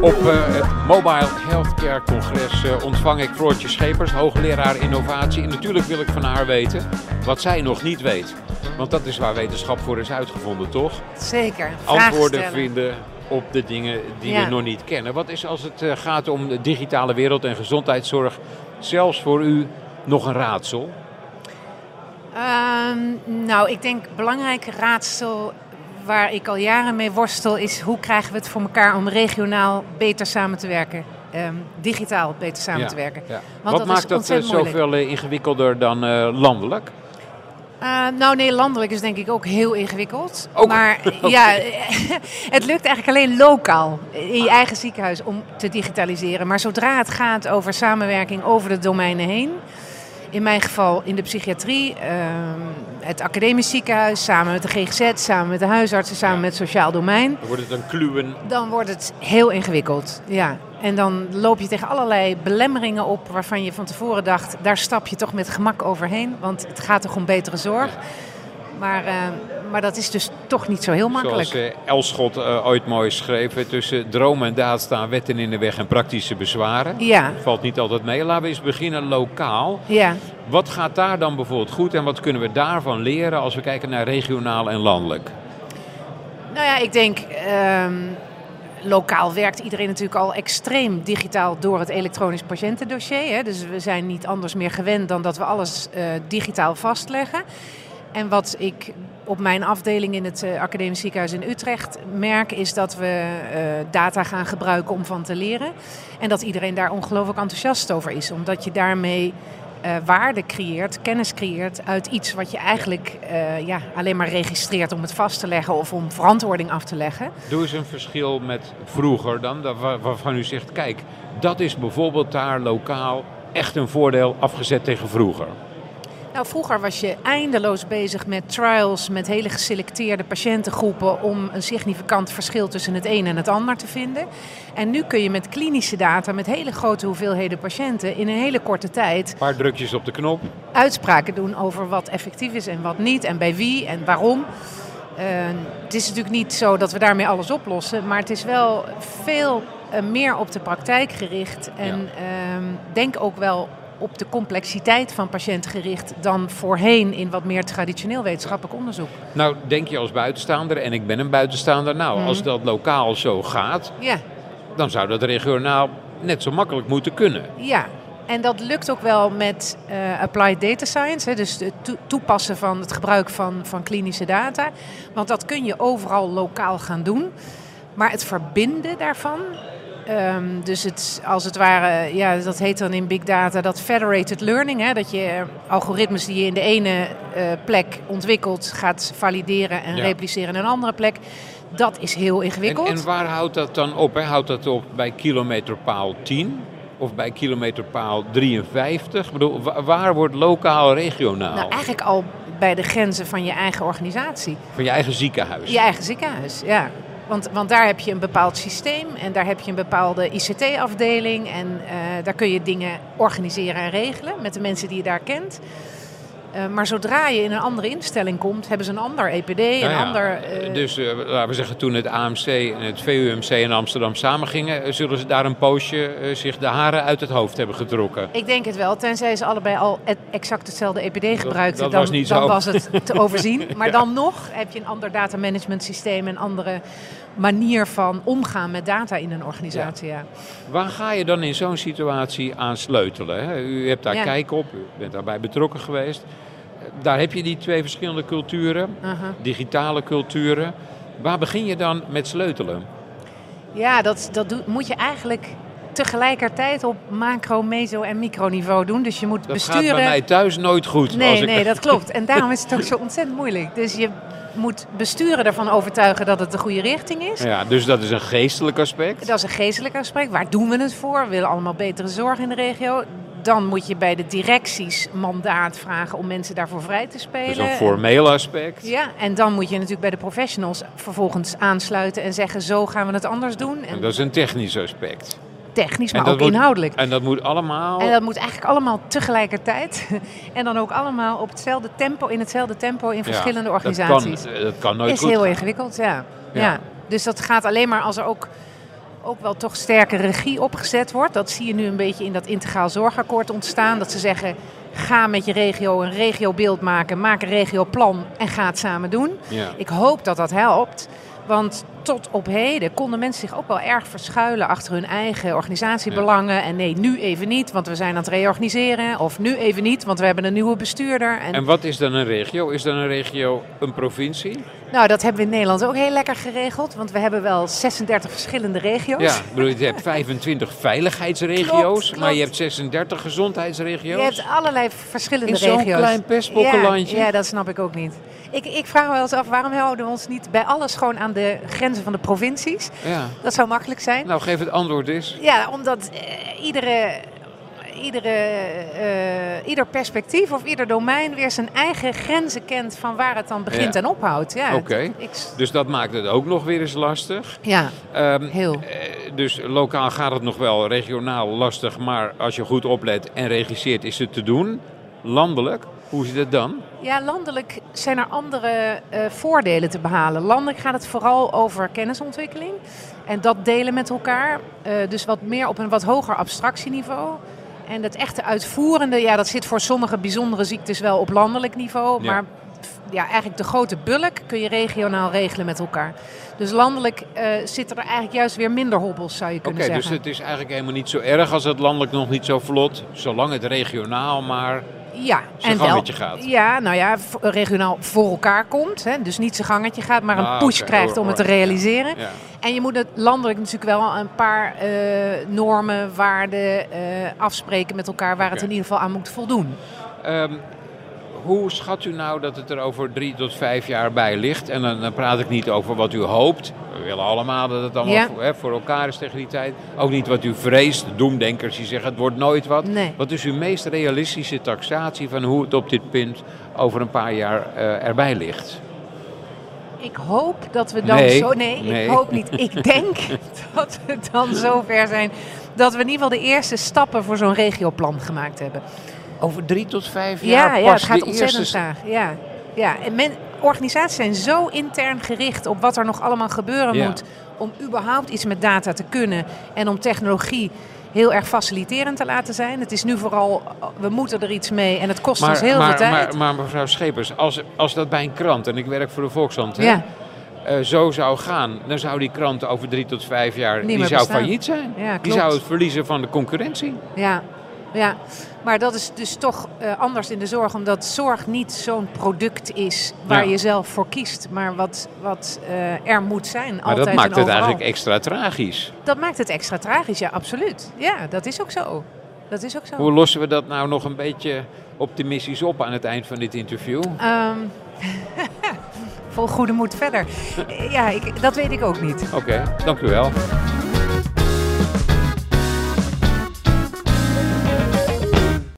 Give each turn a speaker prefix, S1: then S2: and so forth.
S1: Op eh, het Mobile Healthcare Congres eh, ontvang ik Floortje Schepers, hoogleraar innovatie. En natuurlijk wil ik van haar weten wat zij nog niet weet. Want dat is waar wetenschap voor is uitgevonden, toch?
S2: Zeker. Vragen
S1: Antwoorden
S2: stellen.
S1: vinden op de dingen die
S2: Ja.
S1: we nog niet kennen. Wat is als het eh, gaat om de digitale wereld en gezondheidszorg zelfs voor u nog een raadsel?
S2: Ehm, nou, ik denk belangrijk raadsel waar ik al jaren mee worstel is hoe krijgen we het voor elkaar om regionaal beter samen te werken. Ehm, digitaal beter samen
S1: Ja,
S2: te werken.
S1: ja.
S2: Want
S1: Wat
S2: dat is
S1: maakt dat eh,
S2: ontzettend moeilijk.
S1: zoveel eh, ingewikkelder dan eh, landelijk?
S2: Eh, nou nee, landelijk is denk ik ook heel ingewikkeld.
S1: Ook?
S2: Maar ja, het lukt eigenlijk alleen lokaal in je eigen ziekenhuis om te digitaliseren. Maar zodra het gaat over samenwerking over de domeinen heen, in mijn geval in de psychiatrie, eh, het academisch ziekenhuis, samen met de GGZ, samen met de huisartsen, samen
S1: Ja.
S2: met het sociaal domein,
S1: Dan wordt het een kluwen.
S2: dan wordt het heel ingewikkeld. Ja. En dan loop je tegen allerlei belemmeringen op waarvan je van tevoren dacht, daar stap je toch met gemak overheen, want het gaat toch om betere zorg. Maar, eh, maar dat is dus toch niet zo heel makkelijk.
S1: Zoals eh, Elschot eh, ooit mooi schreef, eh, tussen droom en daad staan wetten in de weg en praktische bezwaren.
S2: Ja,
S1: Valt niet altijd mee. Laten we eens beginnen lokaal.
S2: ja.
S1: Wat gaat daar dan bijvoorbeeld goed en wat kunnen we daarvan leren als we kijken naar regionaal en landelijk?
S2: Nou ja, ik denk. ehm, lokaal werkt iedereen natuurlijk al extreem digitaal door het elektronisch patiëntendossier. Hè? Dus we zijn niet anders meer gewend dan dat we alles eh, digitaal vastleggen. En wat ik op mijn afdeling in het eh, Academisch Ziekenhuis in Utrecht merk, is dat we eh, data gaan gebruiken om van te leren. En dat iedereen daar ongelooflijk enthousiast over is, omdat je daarmee. eh, waarde creëert, kennis creëert uit iets wat je eigenlijk eh, ja, alleen maar registreert om het vast te leggen of om verantwoording af te leggen.
S1: Doe eens een verschil met vroeger dan, dat wa- waarvan u zegt, kijk, dat is bijvoorbeeld daar lokaal echt een voordeel afgezet tegen vroeger.
S2: Nou, vroeger was je eindeloos bezig met trials met hele geselecteerde patiëntengroepen om een significant verschil tussen het een en het ander te vinden. En nu kun je met klinische data, met hele grote hoeveelheden patiënten, in een hele korte tijd
S1: Een paar drukjes op de knop.
S2: uitspraken doen over wat effectief is en wat niet en bij wie en waarom. Eh, het is natuurlijk niet zo dat we daarmee alles oplossen, maar het is wel veel eh, meer op de praktijk gericht. En ehm, denk ook wel op de complexiteit van patiënt gericht dan voorheen in wat meer traditioneel wetenschappelijk onderzoek.
S1: Nou, denk je als buitenstaander, en ik ben een buitenstaander, nou, als dat lokaal zo gaat,
S2: Ja,
S1: dan zou dat regionaal net zo makkelijk moeten kunnen.
S2: ja. En dat lukt ook wel met eh, applied data science, hè, dus het toe- toepassen van het gebruik van, van klinische data. Want dat kun je overal lokaal gaan doen. Maar het verbinden daarvan, ehm, dus het, als het ware, ja, dat heet dan in big data dat federated learning. Hè, dat je algoritmes die je in de ene eh, plek ontwikkelt gaat valideren en
S1: Ja.
S2: repliceren in een andere plek. Dat is heel
S1: En,
S2: ingewikkeld.
S1: en waar houdt dat dan op? Hè? Houdt dat op bij kilometerpaal 10 of bij kilometerpaal 53? Ik bedoel, wa- waar wordt lokaal regionaal?
S2: Nou, eigenlijk al bij de grenzen van je eigen organisatie.
S1: Van je eigen ziekenhuis.
S2: Je eigen ziekenhuis, ja. Want, want daar heb je een bepaald systeem en daar heb je een bepaalde ICT-afdeling. En eh, daar kun je dingen organiseren en regelen met de mensen die je daar kent. Eh, maar zodra je in een andere instelling komt, hebben ze een ander EPD, een
S1: Nou ja,
S2: ander... eh,
S1: Dus eh, laten we zeggen, toen het AMC en het VUMC in Amsterdam samengingen, eh, zullen ze daar een poosje eh, zich de haren uit het hoofd hebben getrokken.
S2: Ik denk het wel, tenzij ze allebei al e- exact hetzelfde EPD gebruikten.
S1: dat
S2: dan
S1: was niet
S2: dan
S1: zo.
S2: was het te overzien. Maar dan nog heb je een ander datamanagementsysteem systeem, een andere manier van omgaan met data in een organisatie. Ja.
S1: Waar ga je dan in zo'n situatie aan sleutelen? hè? U hebt daar
S2: Ja.
S1: kijk op, u bent daarbij betrokken geweest. Daar heb je die twee verschillende culturen,
S2: Aha.
S1: digitale culturen. Waar begin je dan met sleutelen?
S2: Ja, dat, dat doe- moet je eigenlijk tegelijkertijd op macro, meso en microniveau doen. Dus je moet
S1: Dat
S2: besturen.
S1: gaat bij mij thuis nooit goed. als
S2: nee,
S1: ik-
S2: nee, dat klopt. En daarom is het ook zo ontzettend moeilijk. Dus je moet besturen ervan overtuigen dat het de goede richting is.
S1: Ja, dus dat is een geestelijk aspect.
S2: Dat is een geestelijk gesprek. Waar doen we het voor? We willen allemaal betere zorg in de regio. Dan moet je bij de directies mandaat vragen om mensen daarvoor vrij te spelen.
S1: Dus een formeel aspect.
S2: Ja, en dan moet je natuurlijk bij de professionals vervolgens aansluiten en zeggen: zo gaan we het anders doen.
S1: En
S2: En
S1: dat is een technisch aspect.
S2: technisch,
S1: en
S2: maar
S1: dat
S2: ook
S1: moet-
S2: inhoudelijk.
S1: En dat moet allemaal...
S2: En dat moet eigenlijk allemaal tegelijkertijd. En dan ook allemaal op hetzelfde tempo, in hetzelfde tempo in
S1: Ja,
S2: verschillende
S1: dat
S2: organisaties.
S1: kan- Dat kan, nooit
S2: is
S1: goed
S2: heel
S1: gaan.
S2: ingewikkeld, ja.
S1: Ja.
S2: Ja. Dus dat gaat alleen maar als er ook, ook wel toch sterke regie opgezet wordt. Dat zie je nu een beetje in dat integraal zorgakkoord ontstaan. Dat ze zeggen, ga met je regio een regiobeeld maken. Maak een regioplan en ga het samen doen.
S1: Ja.
S2: Ik hoop dat dat helpt. Want tot op heden konden mensen zich ook wel erg verschuilen achter hun eigen organisatiebelangen. En nee, nu even niet, want we zijn aan het reorganiseren. Of nu even niet, want we hebben een nieuwe bestuurder. En,
S1: En wat is dan een regio? Is dan een regio een provincie?
S2: nou, dat hebben we in Nederland ook heel lekker geregeld. Want we hebben wel 36 verschillende regio's.
S1: Ja, ik bedoel, je hebt 25 veiligheidsregio's,
S2: Klopt, klopt.
S1: maar je hebt 36 gezondheidsregio's.
S2: Je hebt allerlei verschillende
S1: In zo'n
S2: regio's.
S1: klein pestbokkenlandje.
S2: Ja, ja, dat snap ik ook niet. Ik, ik vraag me wel eens af, waarom houden we ons niet bij alles gewoon aan de grenzen van de provincies?
S1: Ja.
S2: Dat zou makkelijk zijn.
S1: Nou, geef het antwoord eens.
S2: Ja, omdat eh, iedere, iedere, eh, ieder perspectief of ieder domein weer zijn eigen grenzen kent van waar het dan begint
S1: Ja.
S2: en ophoudt. Ja,
S1: Oké.
S2: het- ik s-
S1: Dus dat maakt het ook nog weer eens lastig.
S2: ja,
S1: Ehm,
S2: heel.
S1: eh, dus lokaal gaat het nog wel regionaal lastig, maar als je goed oplet en regisseert is het te doen. Landelijk, hoe zit het dan?
S2: Ja, landelijk zijn er andere eh, voordelen te behalen. Landelijk gaat het vooral over kennisontwikkeling en dat delen met elkaar. Eh, dus wat meer op een wat hoger abstractieniveau. En dat echte uitvoerende, ja, dat zit voor sommige bijzondere ziektes wel op landelijk niveau.
S1: Ja.
S2: Maar pff, ja, eigenlijk de grote bulk kun je regionaal regelen met elkaar. Dus landelijk eh, zitten er eigenlijk juist weer minder hobbels, zou je
S1: Oké,
S2: kunnen
S1: dus
S2: zeggen.
S1: het is eigenlijk helemaal niet zo erg als het landelijk nog niet zo vlot, zolang het regionaal maar.
S2: Ja,
S1: Zijn
S2: en wel.
S1: gangetje gaat.
S2: Ja, nou ja, v- regionaal voor elkaar komt. Hè, dus niet zijn gangetje gaat, maar een
S1: Ah,
S2: push
S1: oké,
S2: krijgt
S1: hoor,
S2: om het te
S1: hoor. Ja,
S2: realiseren.
S1: Ja.
S2: En je moet het landelijk natuurlijk wel een paar eh, normen, waarden eh, afspreken met elkaar, waar het
S1: Oké.
S2: in ieder geval aan moet voldoen.
S1: Ehm, hoe schat u nou dat het er over drie tot vijf jaar bij ligt? En dan, dan praat ik niet over wat u hoopt. We willen allemaal dat het allemaal
S2: Ja.
S1: voor, hè, voor elkaar is tegen die tijd. Ook niet wat u vreest, doemdenkers die zeggen het wordt nooit wat.
S2: Nee.
S1: Wat is uw meest realistische taxatie van hoe het op dit punt over een paar jaar eh, erbij ligt?
S2: Ik hoop dat we dan
S1: Nee,
S2: zo. Nee,
S1: nee.
S2: ik hoop niet. Ik denk dat we dan zover zijn dat we in ieder geval de eerste stappen voor zo'n regioplan gemaakt hebben.
S1: Over drie tot vijf
S2: Ja,
S1: jaar
S2: ja
S1: pas
S2: het gaat
S1: de eerste...
S2: ontzettend traag. Ja, ja. En men, organisaties zijn zo intern gericht op wat er nog allemaal gebeuren
S1: Ja.
S2: moet... om überhaupt iets met data te kunnen en om technologie heel erg faciliterend te laten zijn. Het is nu vooral, oh, we moeten er iets mee en het kost ons heel
S1: maar,
S2: veel tijd.
S1: maar, maar mevrouw Schepers, als, als dat bij een krant, en ik werk voor de Volkshand, hè,
S2: ja,
S1: eh, zo zou gaan, dan zou die krant over drie tot vijf jaar
S2: Niet
S1: die
S2: meer
S1: zou
S2: bestaan.
S1: failliet zijn.
S2: Ja,
S1: die
S2: klopt.
S1: zou het verliezen van de concurrentie.
S2: ja, ja. Maar dat is dus toch eh, anders in de zorg, omdat zorg niet zo'n product is waar
S1: Ja.
S2: je zelf voor kiest, maar wat, wat eh, er moet zijn.
S1: Maar
S2: altijd
S1: dat
S2: en
S1: maakt het
S2: overal.
S1: eigenlijk extra tragisch.
S2: Dat maakt het extra tragisch, ja, absoluut. Ja, dat is ook zo. Dat is ook zo.
S1: Hoe lossen we dat nou nog een beetje optimistisch op aan het eind van dit interview?
S2: Ehm, vol goede moed verder. Ja, ik, dat weet ik ook niet.
S1: Oké, dank u wel.